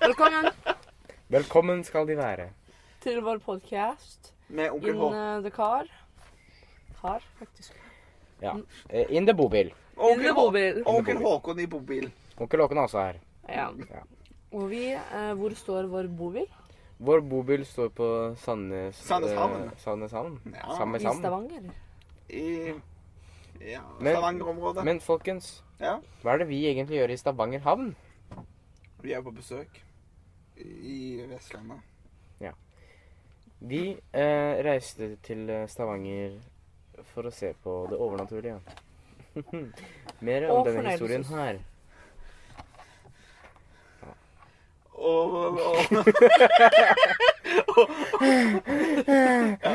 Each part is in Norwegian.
Velkommen Velkommen skal de være. til vår podkast Med onkel In H. eh, the car. Har, faktisk. Eh, In the bobil. In the bobil. Og onkel Håkon i bobil. Onkel Håkon er også her. Ja. Ja. Og vi eh, Hvor står vår bobil? Vår bobil står på Sandnes Sandneshavn. eh, Sandneshavn. Ja. Sammen med I sammen. Stavanger. I ja, Men- Stavanger-området. Men folkens, Ja. hva er det vi egentlig gjør i Stavanger havn? Vi er på besøk i Vestlandet. Vi eh, reiste til eh, Stavanger for å se på det overnaturlige. Mer om Og denne historien fornøyelses- her. Og, og, og, ja.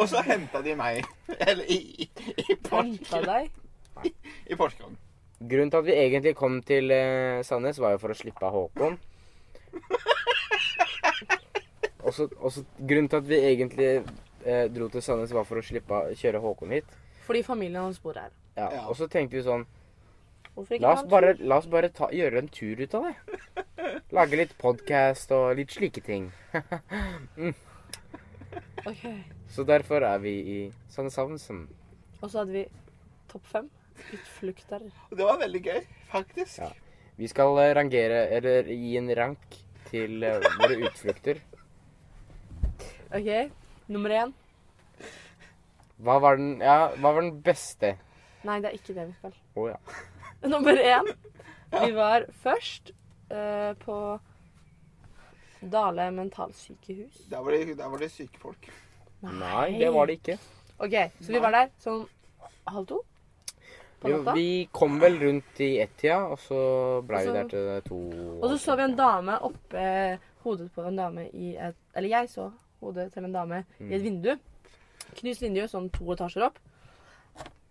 og så henta de meg. Eller i, i, i, Henta Porsgrunn. deg. I Porsgrunn. Grunnen til at vi egentlig kom til eh, Sandnes, var jo for å slippe av Håkon. Og så og så grunnen til at vi egentlig eh, dro til Sandnes, var for å slippe av kjøre Håkon hit. Fordi familien hans bor her. Ja. Ja. Og så tenkte vi sånn Hvorfor ikke La oss han bare, la oss bare ta, gjøre en tur ut av det. Lage litt podkast og litt slike ting. tror? Ok. Så derfor er vi i Sandneshavnsen. Og så hadde vi topp fem utflukter. Og det var veldig gøy, faktisk. Ja. Vi skal eh, rangere, eller gi en rank til eh, våre utflukter. OK, nummer én. Hva var den, ja, hva var den beste? Nei, det er ikke det vi skal. Å ja. Nummer én. Vi var først eh, på Dale mentalsykehus. Der var det, der var det syke folk. Nei, det var det ikke. OK, så vi var der sånn halv to på Jo, natta. vi kom vel rundt i ett-tida, og så blei vi Og så- der til to Og så så vi en dame oppe hodet på en dame i et Eller jeg så hodet til en dame i Mm. et vindu. Knust vindu, sånn to etasjer opp.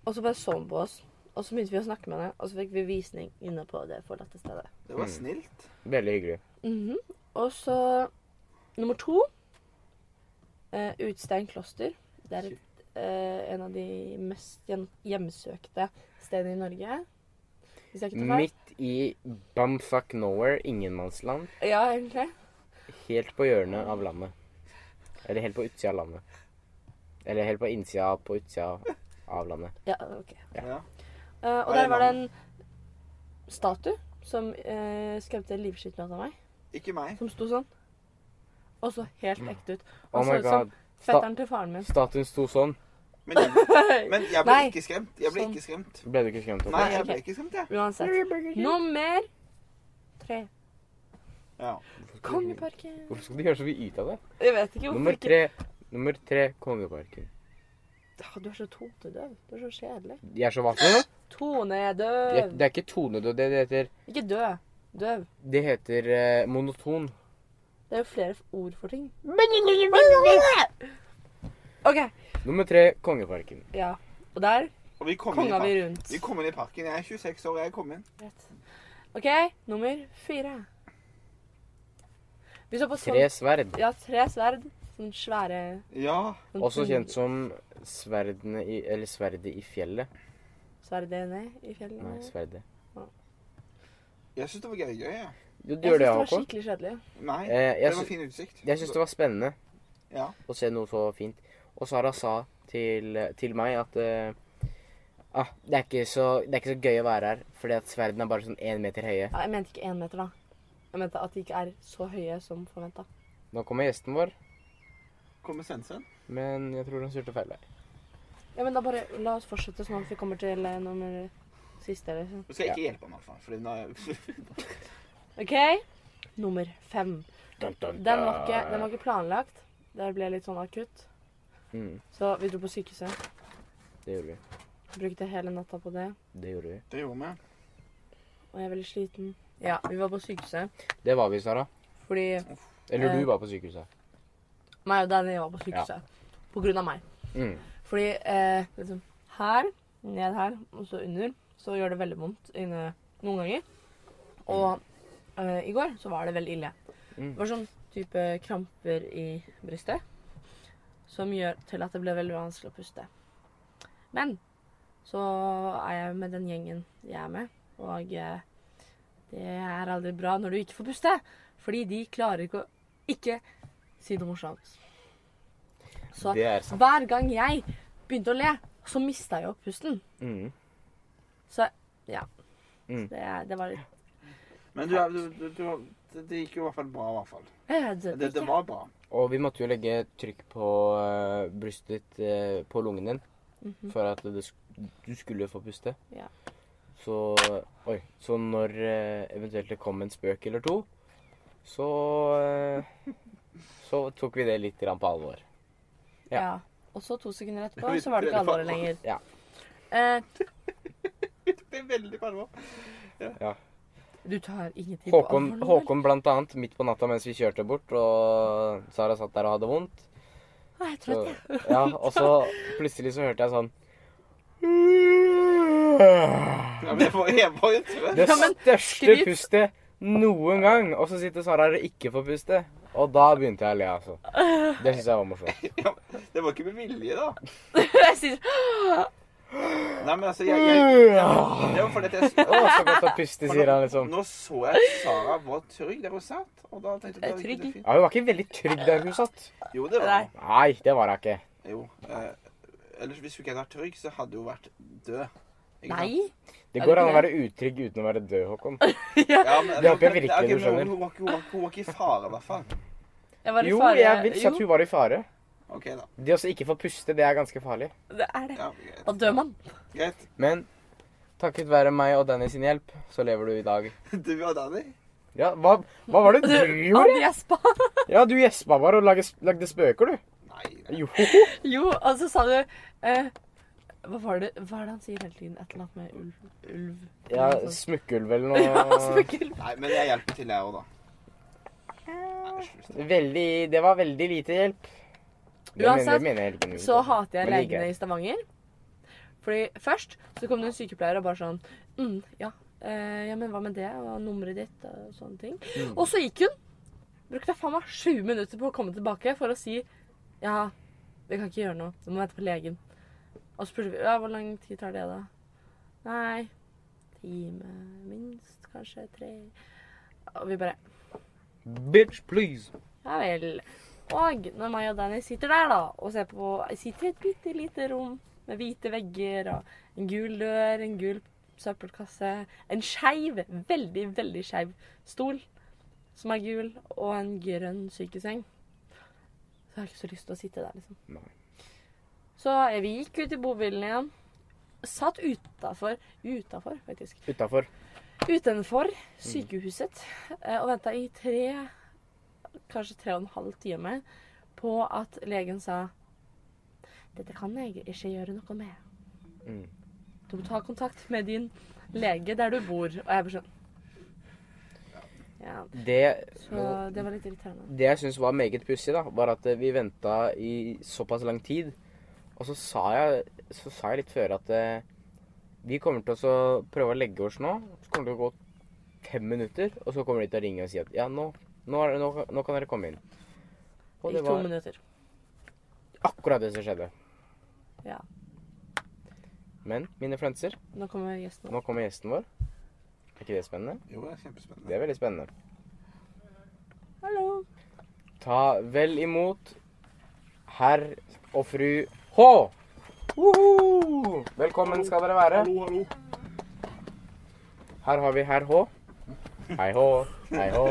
Og så bare så hun på oss. Og så begynte vi å snakke med henne, og så fikk vi visning inne på det forlatte stedet. Det var snilt. Veldig hyggelig. Mhm. Og så nummer to eh, Utstein kloster. Det er et, eh, en av de mest gjen- hjemsøkte stedene i Norge. Hvis jeg ikke tar feil. Midt i bumfuck nowhere, ingenmannsland. Ja, egentlig. Helt på hjørnet av landet. Eller helt på utsida av landet. Eller helt på innsida på utsida av landet. Ja, ok. Ja. Eh, og Hva er der det var det en statue som uh, skremte livskiten ut av meg. Ikke meg. Som sto sånn. Og så helt ekte ut. Og Oh så my ut Altså, som god. Sta fetteren til faren min. statuen sto sånn. Men jeg, men jeg ble Nei. ikke skremt. Jeg ble Sånn. ikke skremt. Ble du ikke skremt? Nei, Håkon? jeg ble ok. ikke skremt, jeg. Uansett. Nummer tre. Ja. Kongeparken. Hvorfor skal du gjøre så mye ut av det? Jeg vet ikke hvorfor Nummer ikke- tre, nummer tre Kongeparken. Åh, Ah, Du er så tonedøv. Du er så kjedelig. Jeg er så vant med det. Tonedøv. Det er ikke tonedød. Det heter, Ikke død. Døv. det heter eh, monoton. Det er jo flere f- ord for ting. OK. Nummer tre Kongeparken. Ja. Og der Og vi kom inn i konga vi parken. rundt. Vi kom inn i parken. Jeg er 26 år, jeg kom inn. Rett. OK, nummer fire. Vi så på sånn Tre sverd. Ja, tre sverd. Sånn svære Ja. sånn Også tunge kjent som sverdene i, eller sverdet i fjellet. Sverd ned i fjellet. Nei, sverdet. Jeg syns det var gøy, gøy, jeg. Du, du gjør Jeg synes det, det var Håkon. skikkelig kjedelig. Nei. Eh, jeg det var sy- fin utsikt. jeg syns det var spennende. Ja. å se noe så fint. Og Sara sa til, til meg at eh, ah, det, er ikke så, det er ikke så gøy å være her, fordi at sverdene er bare sånn én meter høye. Ja, jeg mente ikke én meter, da. Jeg mente at de ikke er så høye som forventa. Nå kommer gjesten vår, Kommer sensen? men jeg tror hun styrte feil vei. Ja, men da bare la oss fortsette sånn at vi kommer til eh, nummer siste. eller sånn. Nå skal jeg ikke hjelpe ham, iallfall. Fordi nå er jeg... OK, nummer fem. Dun, dun, Den var ikke, dun. den var ikke planlagt. Det ble litt sånn akutt. Mm, Så vi dro på sykehuset. det gjorde vi. Brukte hele natta på det. Det gjorde vi. Det gjorde vi. Og jeg er veldig sliten. Ja, vi var på sykehuset Det var vi, Sara. fordi Eller Eh. du var på sykehuset. meg og Danny var på sykehuset. På grunn av meg. Mm. Fordi eh, liksom her, ned her, og så under, så gjør det veldig vondt inne noen ganger. Og eh, i går så var det veldig ille. Mm. Det var sånn type kramper i brystet som gjør til at det ble veldig vanskelig å puste. Men så er jeg med den gjengen jeg er med, og eh, det er aldri bra når du ikke får puste. Fordi de klarer ikke å ikke si noe morsomt. Så Det er sant. hver gang jeg begynte å le, så mista jeg opp pusten. Mm. Så ja. Mm. Det, det var litt Men du, er- du, du, du, det- det gikk jo i hvert fall bra, i hvert fall. Jeg hørte Det, det var bra. Og vi måtte jo legge trykk på eh, brystet ditt, eh, på lungen din, Mhm. for at det, sk- du skulle få puste. Ja. Så, oi, så når eh, eventuelt det kom en spøk eller to, så, eh, så tok vi det litt grann på alvor. Ja. Ja. Og så to sekunder etterpå, så var det ikke alvoret lenger. Ja. Eh, Det er veldig bra. det var. du tar ingenting på Håkon, alvor nå, vel? Håkon blant annet, midt på natta mens vi kjørte bort, og Sara satt der og hadde vondt. Nei, jeg er Så, trøtt, jeg. ja, og så plutselig så hørte sånn jeg sånn Ja, men jeg var, jeg var jo trøtt. Det Ja, men største skryt. pustet noen gang. Og så sitter Sara her og ikke får puste. Og da begynte jeg å le, altså. Det syns jeg var morsomt. Ja, men det var ikke med vilje, da. jeg sier, Nei, men altså, jeg, jeg, Å, det var fordi at jeg så godt å puste, sier han liksom. Nå så jeg at Sara var trygg der hun satt. Og da tenkte jeg, Er da trygg? gikk det fint. Ja, Hun var ikke veldig trygg der hun satt. Jo, det var hun. Nei, det var hun ikke. Jo. Eh, ellers hvis hun ikke hadde vært trygg, så hadde hun vært død. Ikke nei. Det sant? Er det går ikke an å være utrygg uten å være død, Håkon. Ja, men, Det håper jeg men- virkelig ok, du men skjønner. Hun var ikke- hun var ikke- hun var ikke i fare, i hvert fall. Jeg var i Jo, fare. jeg vil si at hun var i fare. OK, da. Det å så ikke få puste, det er ganske farlig. Jo, det er det. Ja, greit. Da dør man. greit. Men takket være meg og Danny sin hjelp, så lever du i dag. Du og Danny? Ja, hva, hva var det du gjorde? Anne gjespa. Ja, du gjespa bare og lagde, lagde spøker, du. Nei. nei. Jo. Jo, og så sa du eh, hva, var det, hva er det han sier hele tiden? Et eller annet med ulv? ulv. Ja, eller noe sånt. smukkulv eller ja, noe. smukkel. Nei, men jeg hjelper til, jeg òg, da. Nei, slutt. Veldig, det var veldig lite hjelp. Det mener, Uansett, det mener jeg ikke noe Så om. hater jeg liksom. Men det gikk legene greit. i Stavanger. Fordi først så kom det en sykepleier og bare sånn mm, ja, eh, ja, men hva med det? Og nummeret ditt? Og sånne ting. Mm. Og så gikk hun. Brukte faen meg sju minutter på å komme tilbake for å si ja, vi kan ikke gjøre noe. Du må vente på legen. Og så spurte vi ja, hvor lang tid tar det, da? Nei, time minst, kanskje tre. Og vi bare Bitch, please. ja vel. Og når meg og Danny sitter der da, og ser på sitter i et bitte lite rom med hvite vegger og en gul dør, en gul søppelkasse, en skeiv, veldig, veldig skeiv stol som er gul, og en grønn sykeseng. Så jeg har ikke så lyst til å sitte der, liksom. Nei. Så eh, vi gikk ut i bobilen igjen. Satt utafor, utafor faktisk, Utafor. utenfor Mm. sykehuset eh, og venta i tre, kanskje tre og en halv time på at legen sa Dette kan jeg ikke gjøre noe med. Mm. Du må ta kontakt med din lege der du bor. Og jeg bare sånn Ja. Det, Så det var litt irriterende. det jeg syns var meget pussig, da, var at eh, vi venta i såpass lang tid. Og så sa jeg, så sa jeg litt før at eh, vi kommer til å så prøve å legge oss nå. Så kommer det til å gå fem minutter, og så kommer de til å ringe og si at ja, nå, nå, er det- nå, nå kan dere komme inn. Og I det to var minutter. akkurat det som skjedde. Ja. Men mine flenser, Nå kommer gjestene. Nå kommer gjesten vår. Er ikke det spennende? Jo, det er kjempespennende. Det er veldig spennende. Hallo. Ta vel imot herr og fru H. Uhu! Velkommen skal dere være. Hallo, hallo. Her har vi herr H. Hei H. Hei H.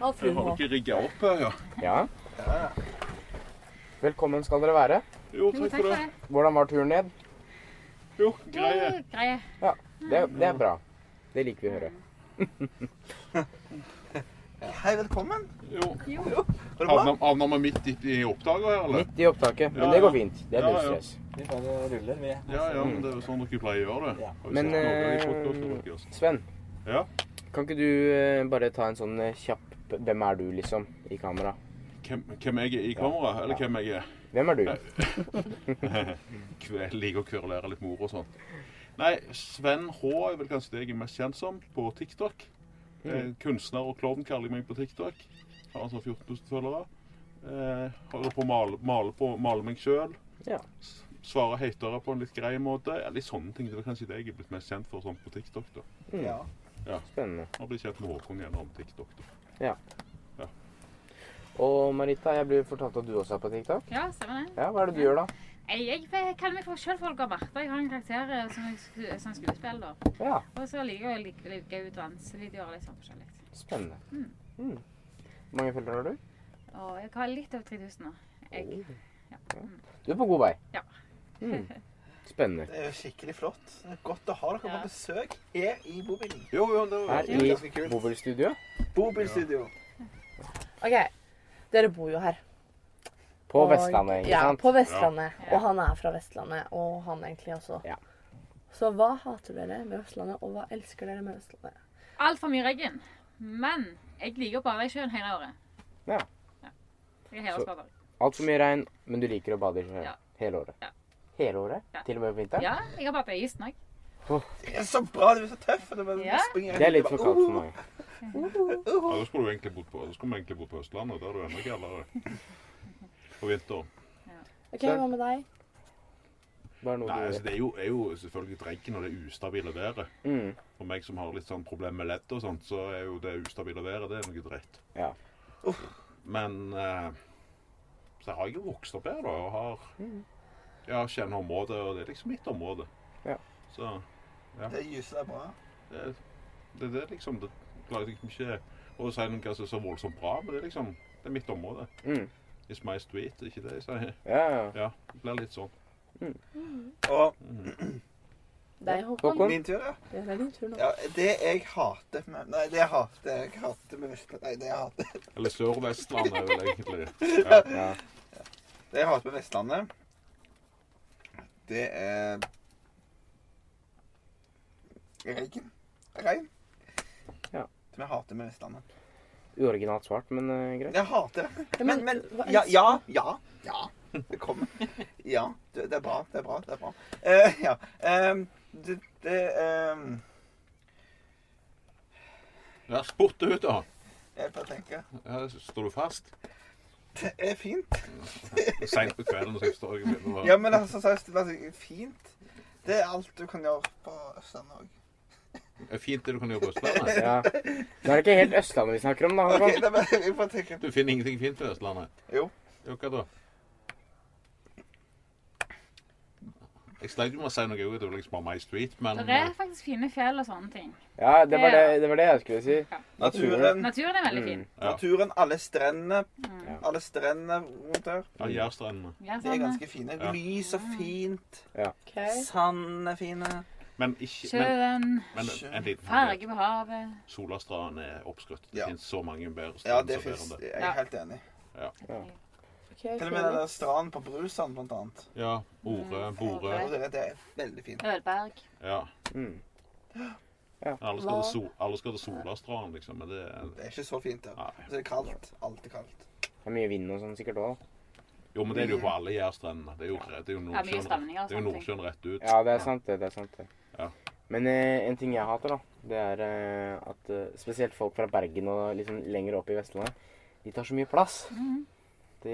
Og fru H. ikke rigga opp her, ja? Ja. Velkommen skal dere være. Jo, Jo, takk for det. Hvordan var turen ned? Jo, Jo, Greie. Det, det er bra. Det liker vi å høre. Hei, velkommen. Jo. Var det bra? Havna, havna vi midt i, i opptaket her, eller? Midt i opptaket. Men det går fint. Det er Ja, null ja. stress. Vi bare ruller, vi. Ja, ja, men det er jo sånn dere pleier å gjøre det. Har vi Men, sett noe i eh, podcasten deres? Sven. Ja? Kan ikke du eh, bare ta en sånn eh, kjapp Hvem er du, liksom? I kamera. Hvem, hvem jeg er i kamera, eller hvem jeg er Hvem er Eh. du? kve, liker å kverulere litt med ord og sånn. Nei, Sven H er vel kanskje det jeg er mest kjent som på TikTok. Mm. Eh, kunstner og klovn kaller jeg meg på TikTok. Har altså 14 000 følgere. Eh, holder på å male, male, på, male meg sjøl. Ja. Svarer hatere på en litt grei måte. Ja, litt sånne ting. Det er vel kanskje det jeg er blitt mest kjent for sånn på TikTok. da. Ja. Spennende. Har blitt kjent med Håkon gjennom TikTok. da. Og Marita, jeg blir fortalt at du også er på TikTok. Ja, stemmer det. Ja, Hva er det du gjør da? Jeg, jeg kaller meg for sjølfolk og Martha. Jeg har en karakter eh, som, jeg sku- som skuespiller. Ja, Og så liker jeg å like, like ut dansevideoer litt sånn forskjellig. Spennende. Mm. Hvor mange følgere har du? Og jeg har litt over 3000 nå. Jeg, Du er på god vei. Ja. Mm. Spennende. Det er jo skikkelig flott. Det er Godt å ha dere Ja. på besøk her i bobilen. Jo, jo, det var Her det. i Ganske kult. Bobilstudio Bobilstudio. OK. Dere bor jo her. på Og- Vestlandet. ikke Ja, sant? på Vestlandet. Ja. Og han er fra Vestlandet, og han egentlig også. Ja. Så hva hater dere med Vestlandet, og hva elsker dere med Vestlandet? Altfor mye regn. Men jeg liker å bade i sjøen hele året. Ja. Jeg er helårsbader. Altfor mye regn, men du liker å bade i sjøen Ja. hele året. Ja. Hele året? Ja. Til og med på vinteren? Ja, jeg har badet i isen òg. Det er så bra, du er så tøff. og Det, bare, Ja. springer Det er litt rundt, for det kaldt Uh. bare, for mange. Ja, da skulle du egentlig bodd på, da skulle vi egentlig bodd på Østlandet. Der er du enda kaldere. På vinteren. OK, Så- hva med deg? Bare noe Nei, du altså, det er jo, er jo selvfølgelig regn og det ustabile været. Mm. For meg som har litt sånn problem med ledd og sånt, så er jo det ustabile været det er noe dritt. Ja. Uff. Men eh, så har jeg jo vokst opp her, da, og har Ja, kjenner området, og det er liksom mitt område. Ja. Så oh, Det gyser er bra. det, det, det er liksom Det klarer jeg liksom ikke å si noe som er så voldsomt bra, men det er liksom Det er mitt område. Mm. It's my street, det er ikke det jeg sier? Ja, ja. Ja, det blir litt sånn. Og Deg, Håkon. Håkon? min tur, ja. Det er din tur nå. ja. Det jeg hater med Nei, det jeg hater jeg hater med Vestlandet Nei, det jeg hater, Eller Sør-Vestlandet, er vel egentlig. ja. det jeg hater med Vestlandet, det er Regn. Regn. Ja. Som jeg hater med Vestlandet. Uoriginalt svart, men eh, greit. Jeg hater det. Ja, Men, men hva ja, elsker- ja, ja, ja. Det kommer. Ja. Det, det er bra. Det er bra. Det er bra. Eh, ja. ehm, det det ehm, Ja, spurt ut, da. Jeg bare tenker Ja, står du fast? Det er fint. Seint på kvelden, så jeg står jeg og begynner å Ja, men altså, seriøst, det er fint. Det er alt du kan gjøre på Østlandet òg. Det er fint det du kan gjøre på Østlandet. Ja. Da er det ikke helt Østlandet vi snakker om, da. OK, Håkon. det er bare, jeg bare tenker Du finner ingenting fint på Østlandet. Jo. Jo, hva da? Jeg sleit jo med å si noe ut, det var liksom bare My Street, men Det er faktisk fine fjell og sånne ting. Ja, det var det, det var det jeg skulle si. Naturen. Naturen er veldig fin. Ja. Naturen, alle strendene Mm. Alle strendene rundt her. eh, ja, Jærstrendene. Ja, De er sånn, ganske fine. Ja. Lys og fint. Ok. Sand er fine. Men ikke men, eh, Sjøen, men en liten sånn farge på havet. Solastranden er oppskrytt. Det Ja. finnes så mange bedre Ja, strender det som er bedre fins. enn det. Jeg er helt enig. Ok, Til og med den der stranden på Brusand, blant annet. Ja. Ore, Mm, Bore. Og det det er veldig fint. Ølberg. Ja. Mm. Alle skal, Hva? til sol, alle skal til Solastranden, liksom. Men det er Det er ikke så fint der. Nei. Og så er det kaldt. Alltid kaldt. Det er mye vind og sånn sikkert òg. Jo, men det er det jo på alle jærstrendene. Det er jo, det er jo Ja, mye Nordsjøen, stemninger og det er jo sånne ting. Nordsjøen rett ut. Ja, det er sant, det. det er sant det. Ja. Men eh, en ting jeg hater, da, det er eh, at eh, spesielt folk fra Bergen og liksom lenger opp i Vestlandet, de tar så mye plass. De,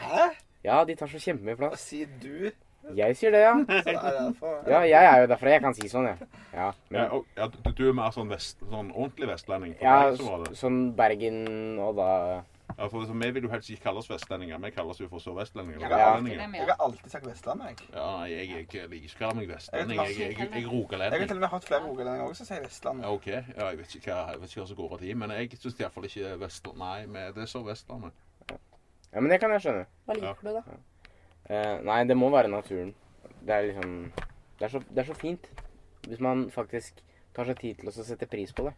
Hæ? ja, de tar så kjempemye Hva plass. sier du? Jeg sier det, ja. Så er det derfor. Ja, jeg er jo derfra. Jeg kan si sånn, jeg. Ja, Ja, men, og, ja, du, du er mer sånn, vest, sånn ordentlig vestlending? For ja, meg så var det. sånn Bergen og da Ja, for liksom, Vi vil jo helst ikke kalle oss vestlendinger. Vi kalles jo for sørvestlendinger. Ja, det er alltid det eller vestlendinger. Jeg med. har alltid sagt Vestlandet, jeg. Ja, nei, jeg, jeg, jeg liker ikke å kalle meg vestlending. Jeg, jeg, jeg, jeg Jeg har til er rogalending. og med hatt flere rogalendinger også som sier Ja, Vestlandet. OK. Ja, jeg, vet ikke hva, jeg vet ikke hva som går av tid, men jeg syns iallfall ikke Vestland... Nei, men det er Sør-Vestlandet. Ja, men det kan jeg skjønne. Hva liker du, da? Eh, nei, det må være naturen. Det er liksom det er, så, det er så fint. Hvis man faktisk tar seg tid til å sette pris på det.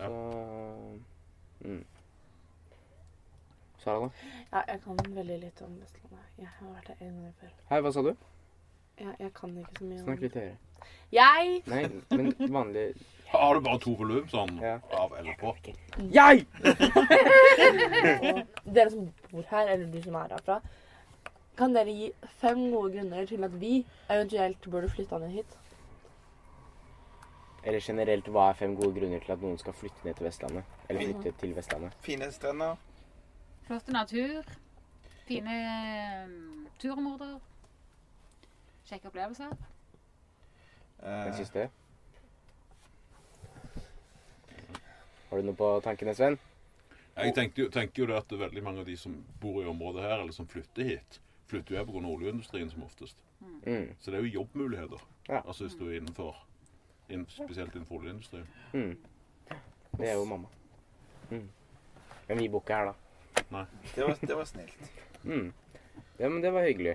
Ja. Så mm. Sara, da? Ja, jeg kan veldig lite om Vestlandet. Jeg har vært der en gang før. Hei, hva sa du? Jeg, jeg kan ikke så mye om Snakk litt høyere. Jeg! Nei, men vanlig Har du bare to volum sånn Ja. av eller på? Jeg! Og dere som bor her, eller du som er herfra, kan dere gi fem gode grunner til at vi eventuelt burde flytte ned hit? Eller generelt, hva er fem gode grunner til at noen skal flytte ned til Vestlandet? Eller flytte til Vestlandet? Fine strender. Flotte natur. Fine eh, turområder. Kjekke opplevelser. eh, Den siste? Har du noe på tankene, Sven? Jeg tenkte jo, tenker jo det at veldig mange av de som bor i området her, eller som flytter hit, flytter jo her pga. oljeindustrien som oftest. Mm. Så det er jo jobbmuligheter. Ja. Altså hvis du er innenfor inn, Spesielt innenfor oljeindustrien. Det er jo mamma. Mm. Men vi bor ikke her, da. Eh, Det var, det var snilt. Mm. Ja, men det var hyggelig.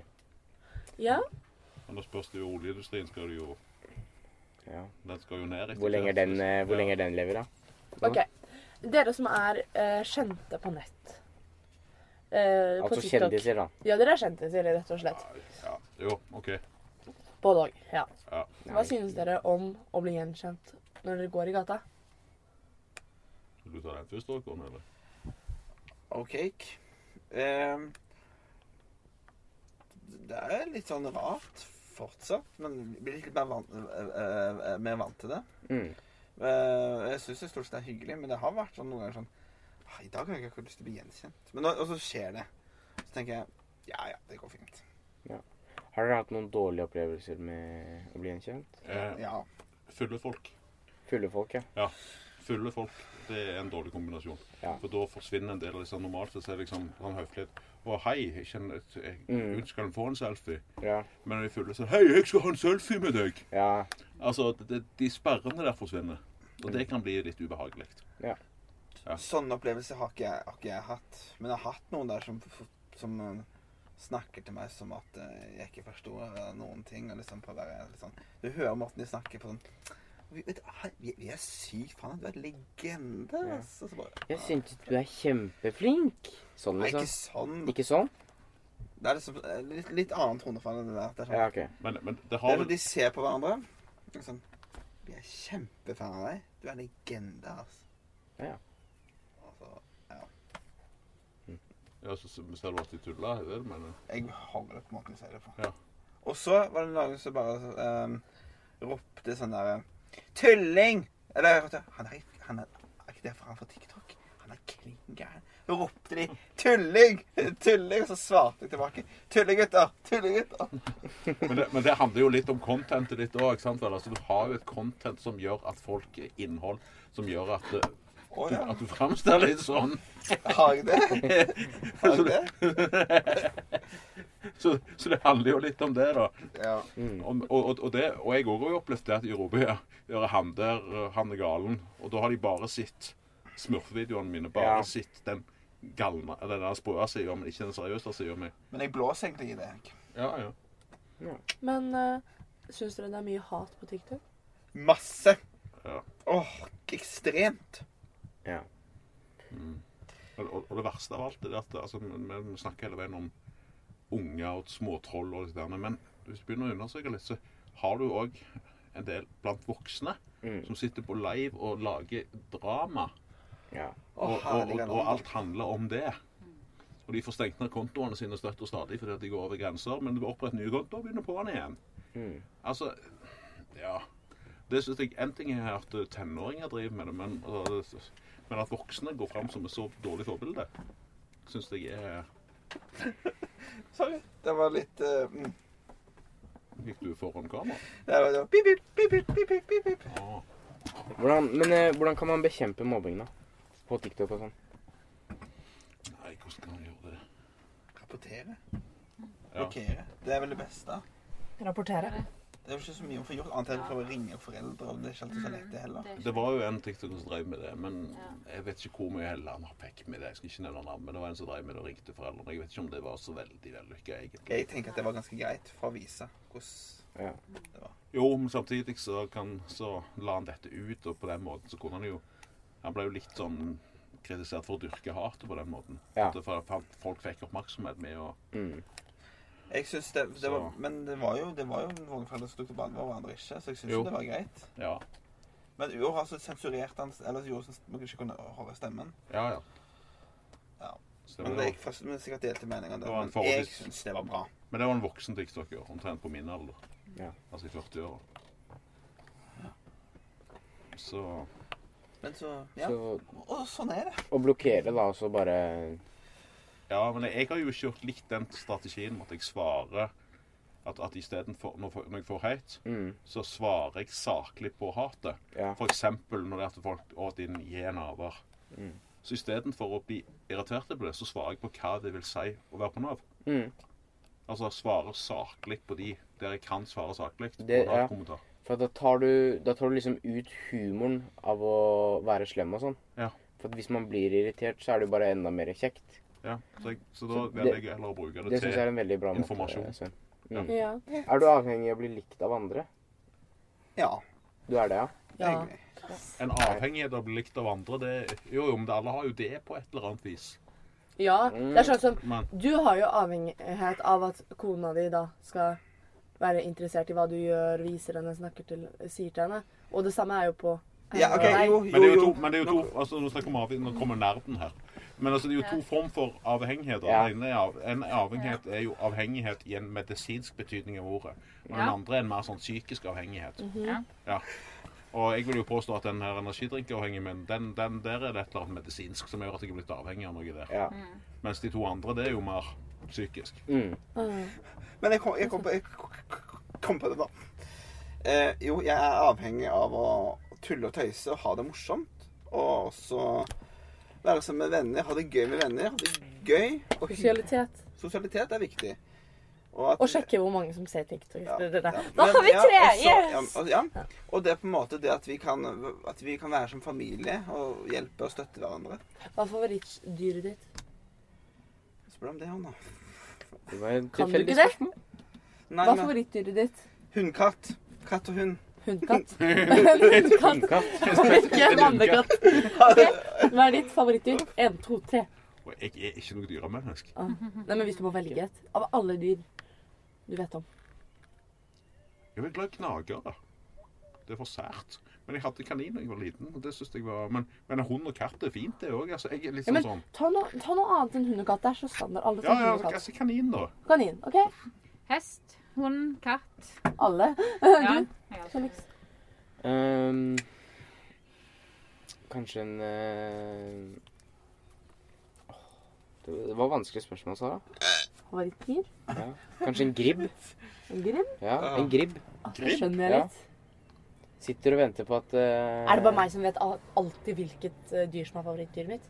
Ja. Men da spørs det jo oljeindustrien skal du jo Ja. Den skal jo ned. etter Hvor lenge hvert, den, så- eh, hvor ja. lenge den lever, da? Ok. Dere som er eh, kjente på nett. Eh, på Altså TikTok. kjendiser, da. Ja, dere er kjendiser, rett og slett. Ja, jo, OK. Både òg. Ja. Ja. Hva synes dere om å bli gjenkjent når dere går i gata? Vil du ta den først, da, Cornelie? OK. Ehm, det er litt sånn rart fortsatt, men vi blir litt mer vant, eh, eh, mer vant til det. Mm. Eh, jeg syns det stort sett er hyggelig, men det har vært sånn noen ganger sånn «Ah, I dag har jeg ikke lyst til å bli gjenkjent. Men nå, og så skjer det. Så tenker jeg ja, ja, det går fint. Har dere hatt noen dårlige opplevelser med å bli gjenkjent? Eh, Ja. fulle folk. Fulle folk, ja. Fulle folk det er en dårlig kombinasjon. Ja. For da forsvinner en del av disse normalt. Så er det liksom sånn høflighet. Å, hei, jeg kjenner et jeg- Mm. Unnskyld, kan du få en selfie? Ja. Men når de fulle sier Hei, jeg skal ha en selfie med deg! ja. Altså, det, de sperrene der forsvinner. Og det kan bli litt ubehagelig. Sånne opplevelser Sånn har ikke, jeg, har ikke jeg hatt. Men jeg har hatt noen der som, som eh, snakker til meg som at eh, jeg ikke forstår eh, noen ting. Og liksom prøver å være litt sånn Du hører måten de snakker på sånn vi, vet, du, hei, vi, vi er sykt faen, du er legende. Ja. Altså. Så bare, Jeg synes du er kjempeflink. Sånn, Nei, ikke liksom. sånn. Ikke sånn? Det er liksom, eh, litt, litt annen tonefall enn det der. Det er sånn, Ja, OK. Men, men det det har er vel sånn de ser på hverandre. og Sånn, vi er kjempefan av deg. Du er legende, altså. Ja. altså ja, så, så Ser du at de tuller? Er det det du mener? Jeg holder det på måten jeg sier det på. Ja. Og så var det noen som bare ehm, ropte sånn der Tulling! Eller jeg hørte, han er, han er, er ikke det for han fra TikTok? Han er klin gæren. Så ropte de 'tulling', 'tulling', og så svarte jeg tilbake 'tullegutter', 'tullegutter'. Men det, men det handler jo litt om contentet ditt òg. Altså, du har jo et content som gjør at folk innhold som gjør at, eh, Å du, ja, at du framstår litt sånn. har jeg det? Har jeg det? Så, så det handler jo litt om det, da. Ja. Om, og, og, og, det, og jeg òg har jo opplevd det at i Europa gjør han der, eh, han er galen. Og da har de bare sett smurfevideoene mine. Bare Ja. sett den galne, eller den der sprøe sida, men ikke den seriøse sida mi. Men jeg blåser egentlig i det. Henk. Ja, ja. Men uh, syns dere det er mye hat på TikTok? Masse. Ja. Åh, ekstremt. Ja. Og, og, og det verste av alt er at altså, vi, vi snakker hele veien om unger og småtroll og det der, men hvis du begynner å undersøke litt, så har du òg en del blant voksne Mm. som sitter på live og lager drama. Ja. Å, og, og, og, herlige og navn. alt handler om det. Og de får stengt ned kontoene sine støtt og stadig fordi at de går over grenser, men du oppretter nye kontoer og begynner på den igjen. Mm. Altså Ja. Det synes jeg En ting er at tenåringer driver med det, men, altså, men at voksne går fram som et så dårlig forbilde, syns jeg er Sorry. Det var litt eh, mm. Gikk du foran kamera? Det var, det var pip, pip, pip, pip, pip, pip, pip. Ah. Hvordan, men eh, hvordan kan man bekjempe mobbing, da? På TikTok og sånn. Nei, hvordan kan man gjøre det? Rapportere. Ja. Blokkere. Det er vel det beste. Rapportere. Det er jo ikke så mye å få gjort, annet enn å prøve å ringe foreldre. og Det er ikke alltid så lett, det heller. Det er Det var jo en TikToker som drev med det, men Ja. jeg vet ikke hvor mye heller han har pekt med det. Jeg skal ikke nevne navn, men det var en som drev med det og ringte foreldrene. Jeg vet ikke om det var så veldig vellykka, egentlig. Jeg tenker at det var ganske greit for å vise hvordan Ja. Jo, men samtidig så, kan, så la han dette ut, og på den måten så kunne han jo Han ble jo litt sånn kritisert for å dyrke hatet på den måten. Ja. At det- For at folk fikk oppmerksomhet med å Mm. Jeg synes det, det var, Så. Men det var jo, det var jo noen foreldre som tok tilbake og hverandre ikke, så jeg syns Jo. det var greit. Ja. Men Uhr har så sensurert han Eller så gjorde han sånn at man ikke kunne høre stemmen. Ja, ja. Ja. Stemmer Men det. jeg forstår- men sikkert delte meninger om Det var en det. Men jeg forholdsvis- syns det var bra. Men det var en voksen tiktoker, omtrent på min alder. Ja. Altså i 40-åra. Så Men så Ja. Så Og sånn er det. å blokkere, da, og så bare Ja, men jeg, jeg har jo ikke gjort likt den strategien med at jeg svarer at, at istedenfor når, for- når jeg får hate, mm. så svarer jeg saklig på hatet. Ja. Mm. For eksempel når det er at folk å, din jænaver. Så istedenfor å bli irritert over det, så svarer jeg på hva det vil si å være på Nav. Mm. Altså jeg svarer saklig på de, der jeg kan svare saklig. på Det- ja. Nav-kommentar. For da tar, du, da tar du liksom ut humoren av å være slem og sånn. Ja. For at hvis man blir irritert, så er det jo bare enda mer kjekt. Ja. Så, jeg, så da Så velger det- jeg heller å bruke Det syns det, jeg til er en veldig bra informasjon. måte. Sven. Ja. Er du avhengig av å bli likt av andre? Ja, Du er det, ja? ja. egentlig. En avhengighet av å bli likt av andre. Det, jo, jo, men det- alle har jo det på et eller annet vis. ja. Mm. Det er sånn som Men Du har jo avhengighet av at kona di da skal være interessert i hva du gjør, viser henne, snakker til, sier til henne. Og det samme er jo på Ja, OK, Nei. jo, Men det er jo jo, to, men det er jo to altså, Nå snakker vi om avhengighet, nå kommer nerden her. Men altså, det er jo to form for avhengigheter. Ja. Den ene er av, en avhengighet er jo avhengighet i en medisinsk betydning av ordet. Og den Ja. andre er en mer sånn psykisk avhengighet. Ja. Ja. Og jeg vil jo påstå at den her energidrinkavhengigen min, den, den der er det et eller annet medisinsk som gjør at jeg er blitt avhengig av noe der. Ja. Mm. Mens de to andre, det er jo mer psykisk. Mm. Men jeg kom, jeg kom, på, jeg kom på det, da. Eh, jo, jeg er avhengig av å tulle og tøyse og ha det morsomt. Og også være sammen med venner, ha det gøy med venner. Ha det gøy. Og hy- sosialitet. sosialitet er viktig. Og, at- Og sjekke hvor mange som ser TikTok. Ja, det, det, det. ja. Da Men- har vi ja, tre! og så- ja, Yes! og, ja. og det er på en måte det at vi kan, at vi kan være som familie og hjelpe og støtte hverandre. Hva er favorittdyret ditt? Spør om det, han, da. Det var et Kan du tilfeldig ikke det? spørsmål. Nei, Hva er men favorittdyret ditt? hundkatt. Katt og hund. Hundkatt? Hundkatt, Hundkatt. ikke en andekatt. Ok, Hva er ditt favorittdyr? En, to, tre. Og jeg er ikke noe dyremenneske. Ah. Nei, men hvis du må velge et av alle dyr du vet om. Jeg er glad i gnagere. Det er for sært. Men jeg hadde kanin da jeg var liten. og det synes jeg var... Men, men hund og katt er fint, det òg. Altså, jeg er litt Ja, sånn men sånn ta noe, ta noe annet enn hund og katt. Det er så standard. Alle Ja, tar ja, hund og katt. altså kanin, da. Kanin. OK? Hest, hund, katt. Alle. Ja. Du? Ja. Felix. Ehm, kanskje en ehm, åh, det, det var vanskelig spørsmål, Sara. Favorittdyr? Kanskje en gribb? En grill? Ja, en gribb. Altså, Grill? skjønner jeg Ja. litt. Sitter og venter på at eh, Er det bare meg som vet al- alltid hvilket eh, dyr som er favorittdyret mitt?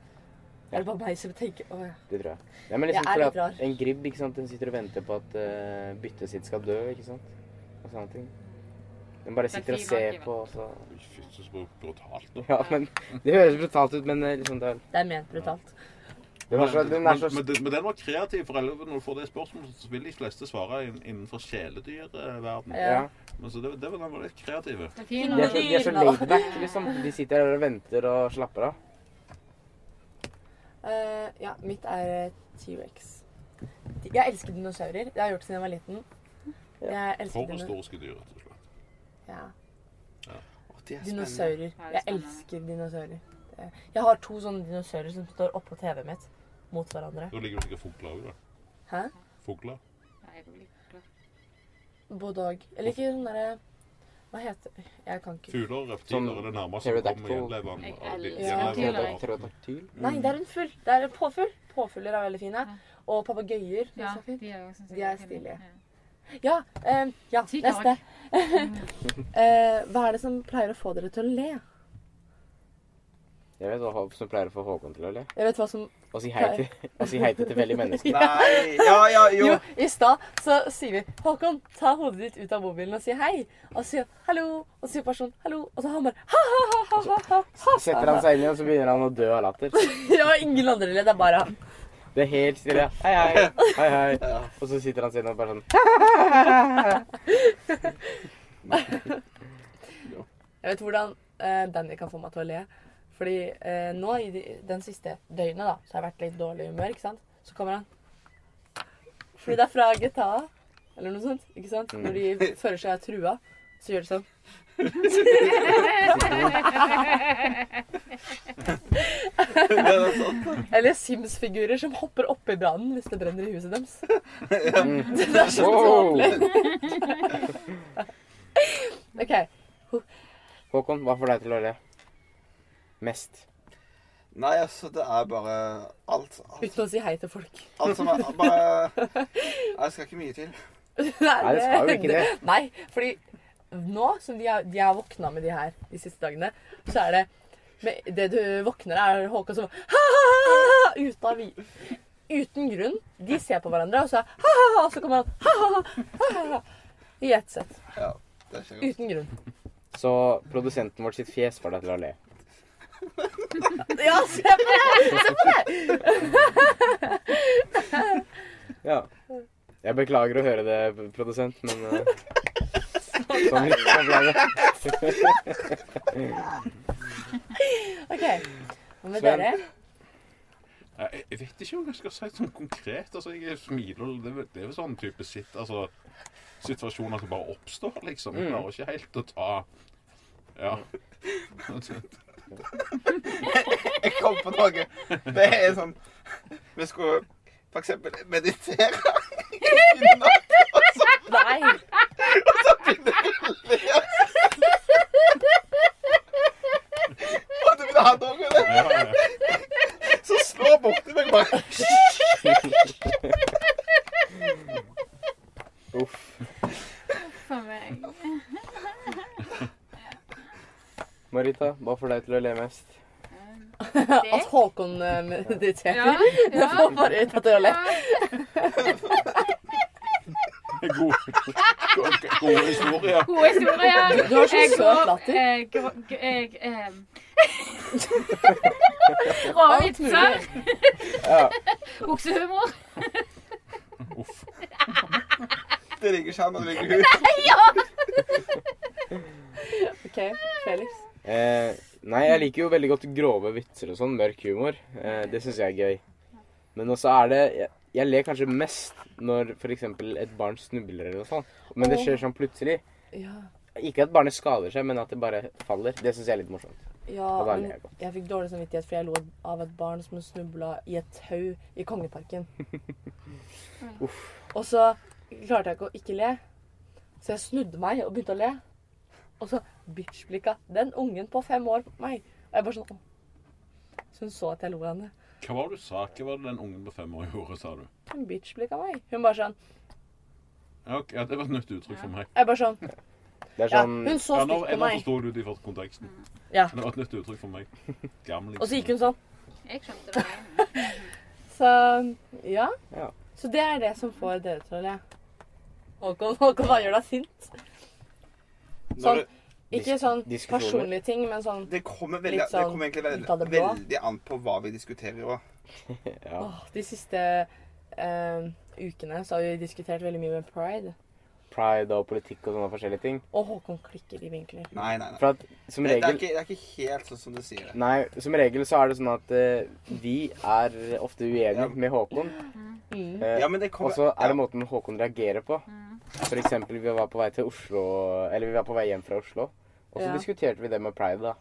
Er det bare meg som tenker Å ja. Det tror jeg. Ja, men Jeg liksom er fordi litt at rar. En gribb ikke sant? Den sitter og venter på at eh, byttet sitt skal dø. ikke sant? Og sånne ting. Den bare Det er sitter og fin ser rådgiver. på. og Så... Fy, så br- brutalt, da. Ja, men Det høres brutalt ut, men eh, liksom det er, Det er ment brutalt. det var så, den men, er så men, den- men den var kreativ, for ellers når du får det spørsmålet, så vil de fleste svare inn- innenfor kjæledyrverden. Ja. ja. Men så det, det var den var litt kreative. Det er fin. De er så, de er så Dyna. laidback, liksom. De sitter her og venter og slapper av. Eh, ja, mitt er eh, T-rex. Jeg elsker dinosaurer. Det har jeg gjort siden jeg var liten. Jeg elsker For dino- historiske dyr, rett og slett. ja. Å, de er spennende. dinosaurer. Ja, det Jeg er spennende. elsker dinosaurer. Det- Jeg har to sånne dinosaurer som står oppå TV-en mitt mot hverandre. Da ligger det sikkert fugler òg, da. Hæ? Fugler. Nei, jeg blir ikke glad. Både og. Eller ikke sånn derre Hva heter Jeg kan ikke Fugler og reptiler er det nærmeste du kommer gjenlevende av de- Jeg elsker gjenlevende av Pterodaktyl. Nei, det er en fugl. Det er en påfugl. Påfugler er veldig fine. Og papegøyer. de Ja, er så fint. de er jo sånn De er fine. stilige. Ja. Ja, eh, ja Ti neste. Eh, hva er det som pleier å få dere til å le? Jeg vet hva som pleier å få Håkon til å le. Jeg vet hva som Å si hei til, å si hei til tilfeldige mennesker. Nei Ja, ja, Jo, jo. i stad så sier vi 'Håkon, ta hodet ditt ut av mobilen og si hei'. Og så sier han 'hallo', og så sier personen 'hallo', og så har han bare ha-ha-ha-ha-ha. Setter han seg inn igjen, så begynner han å dø av latter. Ja, ingen andre ler, det er bare han. Det er helt stille. Hei, hei. Hei, hei. Ja. Og så sitter han siden og bare sånn Jeg vet hvordan eh, Danny kan få meg til å le. Fordi eh, nå i de, den siste døgnet da, så har jeg vært litt dårlig i humør, ikke sant? Så kommer han. Fordi det er fra GTA, eller noe sånt, ikke sant? Når de føler seg trua, så gjør de sånn. Det er sånn. Eller Sims-figurer som hopper oppi brannen hvis det brenner i huset deres. mm. Det er sånn- så Wow. tåpelig. OK. Håkon, hva får deg til å le? Mest. Nei, altså, det er bare alt. alt. Uten å si hei til folk. Alt som er bare Nei, det skal ikke mye til. Nei, det skal jo ikke det. Nei, fordi nå som de har, de har våkna med de her de siste dagene, så er det Men det du våkner, er Håkon som «Ha-ha-ha-ha-ha», ut av vi- Uten grunn. De ser på hverandre, og så «Ha-ha-ha», og så kommer han «Ha-ha-ha-ha-ha-ha», I ett sett. Ja, det er ikke godt. Uten grunn. Så produsenten vår sitt fjes får deg til å le. Ja, se på det! Ja. Jeg beklager å høre det, produsent, men eh, Sånn sånn ble det. OK. Hva med Sven. dere? Nei, Jeg, jeg vet ikke om jeg skal si sånn konkret. altså Jeg smiler og Det, er vel- det er vel sånn type sitt, altså, situasjoner som bare oppstår, liksom. Jeg Mm. klarer ikke helt å ta Ja. Jeg kom på noe. Det er sånn Vi skulle for eksempel meditere. i natt, Og så Nei. og du vil ha noe, eller? Ja, ja. Så slår borti meg bare Uff. For meg. Marita, hva får deg til å le mest? At Håkon eh, mediterer. Ja, ja. Får bare ut at dere ler. God, god, gode historier. Gode historier. Du har så Jeg søt går- latter. Jeg, jeg, jeg eh, Rå Alt vitser. mulig. Ja. Buksehumor. Uff. Det ligger ikke an, og det ligger hun. OK, Felix. Eh, nei, jeg liker jo veldig godt grove vitser og sånn. Mørk humor. Eh, det syns jeg er gøy. Men også er det Jeg, jeg ler kanskje mest når f.eks. et barn snubler eller noe sånt. Men det skjer sånn plutselig. Ja. Ikke at barnet skader seg, men at det bare faller. Det syns jeg er litt morsomt. Ja, Og da ler men jeg godt. jeg fikk dårlig samvittighet fordi jeg lo av et barn som snubla i et tau i Kongeparken. og så klarte jeg ikke å ikke le, så jeg snudde meg og begynte å le. Og så bitchblikka den ungen på fem år på meg. Og jeg bare sånn «Åh». Så hun så at jeg lo av henne. Hva var det du sa? Hva var det den ungen på fem år gjorde, sa du? Hun bitchblikka meg. Hun bare sånn Ja, ok, ja, det var et nytt uttrykk for meg. Jeg bare sånn Det er Ja, sånn hun så Ja, stygt på nå, nå meg. forsto du det i konteksten. Ja. Det var et nytt uttrykk for meg. Gammel. Og så gikk hun sånn. Jeg skjønte det. Så ja. Ja. Så det er det som får dere til å le. Håkon, Håkon, hva gjør deg sint? Sånn, Når du, ikke sånn Dis- diskusjoner. personlige ting, men sånn det kommer veldig, Litt det sånn kommer egentlig veldig, ut av det blå. veldig an på hva vi diskuterer òg. ja. Åh, de siste eh, ukene så har vi diskutert veldig mye med pride. Pride og politikk og sånne forskjellige ting. Og Håkon klikker i vinkler. Nei, nei, nei. For at som Det, det, er regel ikke, det er ikke helt sånn som du sier det. Nei, som regel så er det sånn at eh, vi er ofte uenige Ja. med Håkon. Mm. Eh, Ja, men det Og kommer så er det ja, måten Håkon reagerer på. For eksempel, vi var på vei til Oslo Eller vi var på vei hjem fra Oslo. Og så Ja. diskuterte vi det med Pride, da.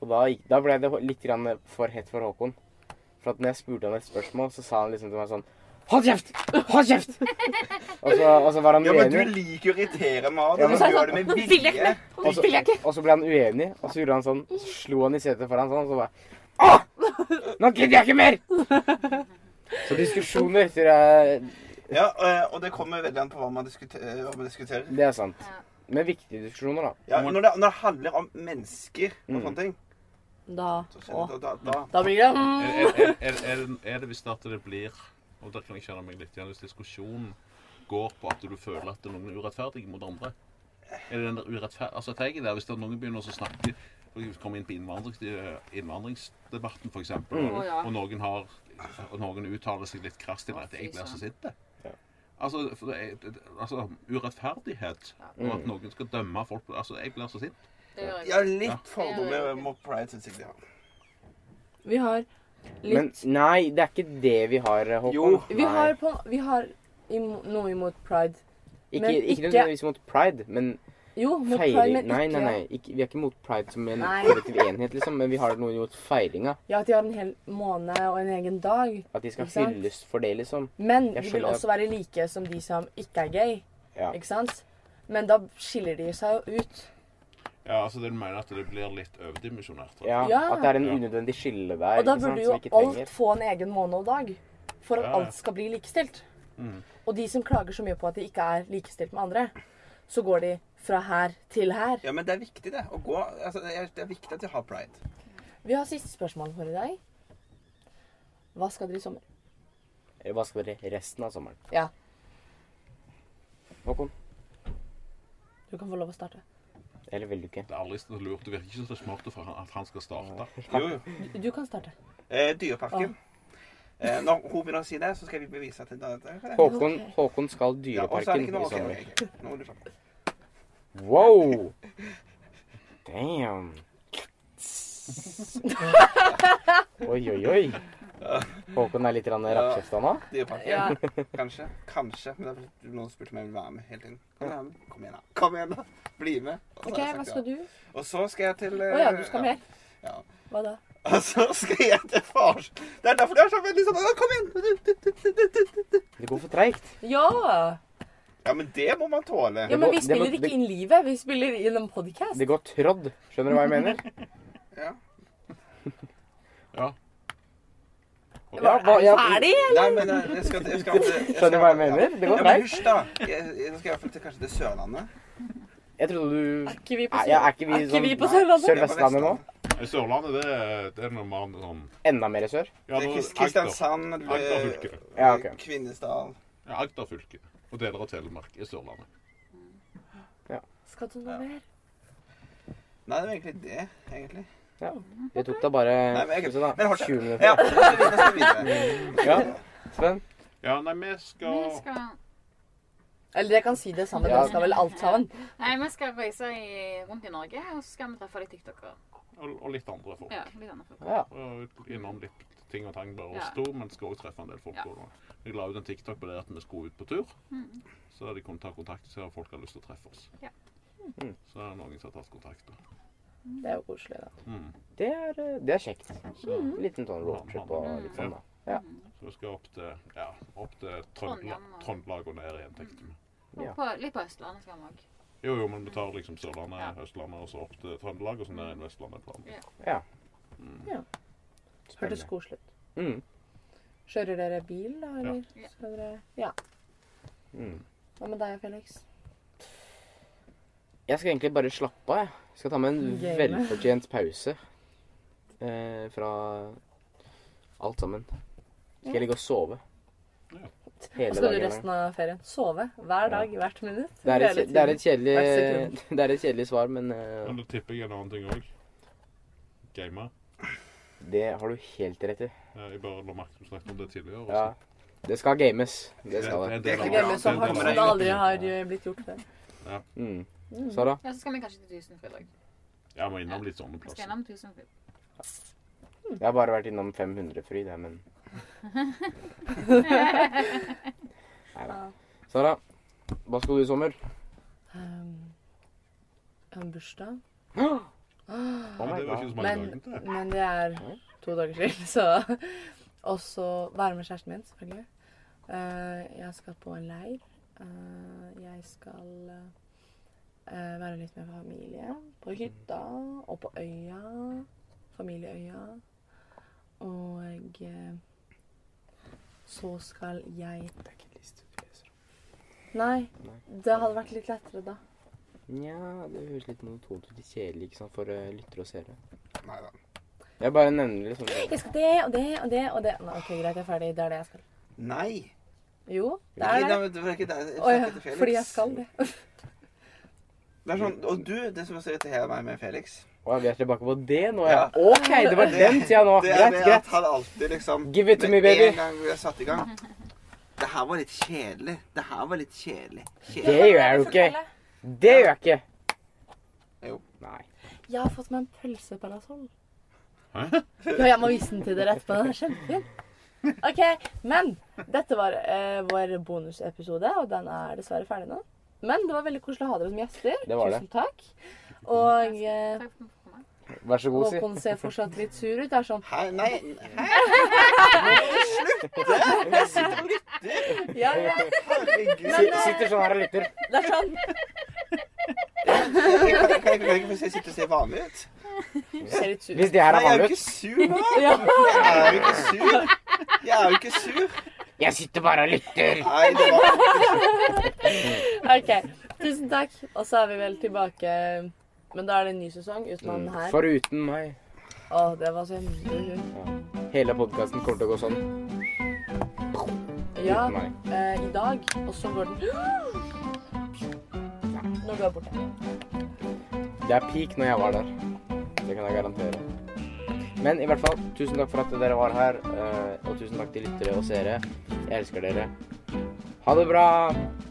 Og da, gikk- da ble det litt grann for hett for Håkon. For at når jeg spurte han et spørsmål, så sa han liksom til meg sånn Hold kjeft! Hold kjeft! og, så, og så var han ja, men du uenig. liker å irritere meg, Ja, og men- du gjør det med vilje. Og så, og så ble han uenig, og så gjorde han sånn. Så slo han i setet foran sånn, og så bare Åh! Nå gidder jeg ikke mer! Så diskusjoner, sier jeg. Ja, eh, og, og det kommer veldig an på hva man diskuterer. Hva man diskuterer. Det er sant. Men viktige diskusjoner, da. Ja, når, det, når det handler om mennesker og sånne ting, Da, så åh, skjønner du da, da, da blir det mm, Er, er, er, er, det- er det hvis at det blir Og der kan jeg kjenne meg litt igjen. Hvis diskusjonen går på at du føler at noen er urettferdige mot andre Er det den der urettfer- Altså, tenk der, Hvis det er noen begynner å snakke for Vi kommer inn på innvandrings, eh, innvandringsdebatten, f.eks., eksempel, Å, og, ja. og, noen har, og noen uttaler seg litt krasst til at jeg blir så sint. Altså, for det er, det- altså, urettferdighet og at noen skal dømme folk Altså, jeg blir så sint. Det gjør Ja, jeg. Ja. litt fordommer mot pride syns jeg de har. Vi har Men litt nei, det er ikke det vi har, eh, Håkon. Jo. Vi har, på, vi har imo- noe imot pride. Ikke, men ikke, ikke- nødvendigvis mot pride, men Jo, mot pride, feiring men Nei, ikke nei, nei. Ikke, vi er ikke mot pride som en Nei. kollektiv enhet, liksom, men vi har noe imot feiringa. Ja, at de har en hel måned og en egen dag. At de skal Ikke sant? hylles for det, liksom. Men Jeg de vil skjønner. også være like som de som ikke er gay. Ja. Ikke sant? Men da skiller de seg jo ut. Ja, altså, det mener at det blir litt overdimensjonert. Ja, Ja. At det er en Ja. unødvendig skille der. Og da ikke sant, burde som jo vi ikke trenger. alt få en egen måned og dag. For at Ja, ja. alt skal bli likestilt. Mm. Og de som klager så mye på at de ikke er likestilt med andre, så går de fra her til her. Ja, men det er viktig, det. Å gå, altså, det, er, det er viktig at de har pride. Vi har siste spørsmål for i dag. Hva skal dere i sommer? Eller Eh, hva skal være resten av sommeren? Ja, Håkon? du kan få lov å starte. Eller vil du ikke? Det er aldri sånn så lurt. Det virker ikke så smart for han- at han skal starte. Jo, jo. Du, du kan starte. Eh, Dyreparken. Eh, når hun begynner å si det, så skal vi bevise at det er det. Håkon, Ok. Håkon skal Ja, og så er Dyreparken det ikke noe i ok, sommer. ok, ok. Nå må du slappe av. Wow! Damn. Oi, oi, oi. Håkon er litt grann rappkjefta nå. Dyreparken. Ja. Kanskje. Kanskje. Men det er fordi noen spurte om jeg ville være med hele tiden. Kan du være med? Kom igjen, da. Kom igjen, da. Bli med. Og så OK, har jeg hva sagt skal ja. du? Og så skal jeg til eh, Å ja, du skal mer? Ja. Hva da? Og så Altså, skal jeg til fars. Det er derfor det er så veldig sånn «Å, Kom igjen! Du, du, du, du, du, du, du. Det går for treigt. Ja! Ja, men det må man tåle. ja må- men vi det må- spiller det- ikke inn livet, vi spiller inn en podkast. Det går trådd. Skjønner du hva jeg mener? Ja. Ja. Ja, hva, ja, Ferdig? Nei, men eh, jeg skal, jeg skal, jeg skal, jeg Skjønner du hva jeg mener? Det Ja, går men treigt. hysj, da. Jeg, jeg skal iallfall til kanskje til Sørlandet. Jeg trodde du Er ikke vi på Nei, ja, er ikke vi Er ikke sånn- vi på Nei, Sørlandet? Sør- Jeg er på Vestlandet nå? I Sørlandet, det er, det er noe mer sånn enda mer sør. Ja, Det er nå- Kris- Agder. Kristiansand, Agder eh, fylke. Ja, ok. Kvinesdal. Ja, Agder fylke. Og deler av Telemark i Sørlandet. Skal du noe mer? Nei, det var egentlig det, egentlig. Ja. Det tok da bare Nei, men jeg- skal vi se da, men hold kjeft. 20 minutter. Ja, så skal vi- nå skal vi videre. Ja. Sven? Ja, nei, vi Vi skal skal Eller jeg kan si det sammen. Ja. Dere skal vel alt sammen. Nei, vi skal reise i, rundt i Norge, og så skal vi treffe litt tiktokere. Og, og litt andre folk. Ja, litt annet. folk. Ja. Og innom litt ting og tang bare Ja. oss to, men skal også treffe en del folk. Ja. også. Jeg la ut en TikTok på det at vi skulle ut på tur. Mhm. Så de kunne ta kontakt og se om folk har lyst til å treffe oss. Ja. Mm. Mhm. Så er det noen som har tatt kontakt. Da. Det er jo koselig, da. Mhm. Det er, eh, det er kjekt. Så, Mm. Liten sånn roadtrip og litt sånn, da. så vi skal opp til, ja, opp til Trøndelag, Trondheim og- Trøndelag og ned igjen, tenkte vi. Og Ja. på, litt på Østlandet skal vi òg. Jo, jo, men vi tar liksom Sørlandet, Ja. Østlandet og så opp til Trøndelag, og så ned igjen Vestlandet. planen. Ja. Hørtes Spennende. koselig ut. Mm. Kjører dere bil, da, eller? Ja. Skal dere Ja. Mm. Hva med deg, Felix? Jeg skal egentlig bare slappe av. jeg. Jeg skal ta meg en Game. velfortjent pause eh, fra alt sammen. Skal jeg ligge og sove. Ja. Hva Hele skal du dagen. lang. resten av ferien? Sove? Hver dag, hvert minutt? Det er, et, hele kje- det, er et kjedelig, Hvert det er et kjedelig svar, men eh, Men da tipper jeg en annen ting òg. Game. det har du helt rett i. Eh, Jeg bare la merke til at du snakket om det tidligere. Ja. altså. tiden. Det skal games. Det skal det. en del Det av- er Gamet games så det er hardt en som del av- det aldri har eh, blitt gjort før. Mm. Mm. Sara? ja, så skal vi kanskje til Tusenfryd òg. Jeg må innom litt sånne Vi skal plasser. gjennom Tusenfryd. Jeg har bare vært innom 500 fryd, jeg, men Nei da. Sara, hva skal du i sommer? Um, jeg har Um, en bursdag. Oh Ja, my det var ikke så God. mange Men, dager til. men det er Oi. to dager til, så Og så være med kjæresten min, selvfølgelig. Eh, jeg skal på en leir. Eh, jeg skal eh, være litt med familie. På hytta og på øya. Familieøya. Og eh, så skal jeg Det er ikke en liste du leser opp. Nei, Nei. det hadde vært litt lettere da. Nja, det høres litt monotont ut. Litt kjedelig ikke sant, for eh, lyttere og seere. Nei da. Jeg bare nevner litt sånn Jeg skal det og det og det og det. Nei, OK, greit, jeg er ferdig. Det er det jeg skal. Nei. Jo, det Nei, er nei, det. men det var ikke det. Jeg Å ja, snakket til Felix. fordi jeg skal det. Det er sånn, og du, det som irriterer meg med Felix Å, vi er tilbake på det nå, ja. Ja. OK, det var den tida nå. Det er Greit, det at greit. han alltid liksom Give it to me, med baby. En gang vi har satt i gang Det her var litt kjedelig. Det her var litt kjedelig. Det kjedelig. gjør jeg jo ikke. Det gjør jeg ikke. Jo. Nei. Jeg har fått meg en pølseparasoll. Hæ? Ja, jeg må vise den til dere etterpå. Den er kjempefin. OK, men dette var eh, vår bonusepisode, og den er dessverre ferdig nå. Men det var veldig koselig å ha dere som gjester. Det var det. Tusen takk. Og eh, Takk for at du kom. Vær så god, si. Håkon ser fortsatt litt sur ut. Det er sånn Hæ? Nei, hæ? Nå må du slutte! Jeg sitter og lytter. Ja, ja. Herregud. Si- eh, Sitter sånn her og lytter. Det er sånn. Jeg kan, kan, kan jeg ikke få se- sitte og se vanlig ut? Du ser litt sur ut. Hvis det her er Nei, jeg er jo vanlig ikke ut. sur nå. Ja. Jeg er jo ikke sur. Jeg er jo ikke sur. Jeg sitter bare og lytter. Nei, det var OK. Tusen takk. Mm, Og så er vi vel tilbake Men da er det en ny sesong uten han her. Foruten meg. Å, det var så hemmelig. Hele podkasten kommer til å gå sånn. Ja, Uten meg. eh, i dag. Og så går den Når du er borte. Det er peak når jeg var der. Det kan jeg garantere. Men i hvert fall, tusen takk for at dere var her. eh, Og tusen takk til lyttere og seere. Jeg elsker dere. Ha det bra!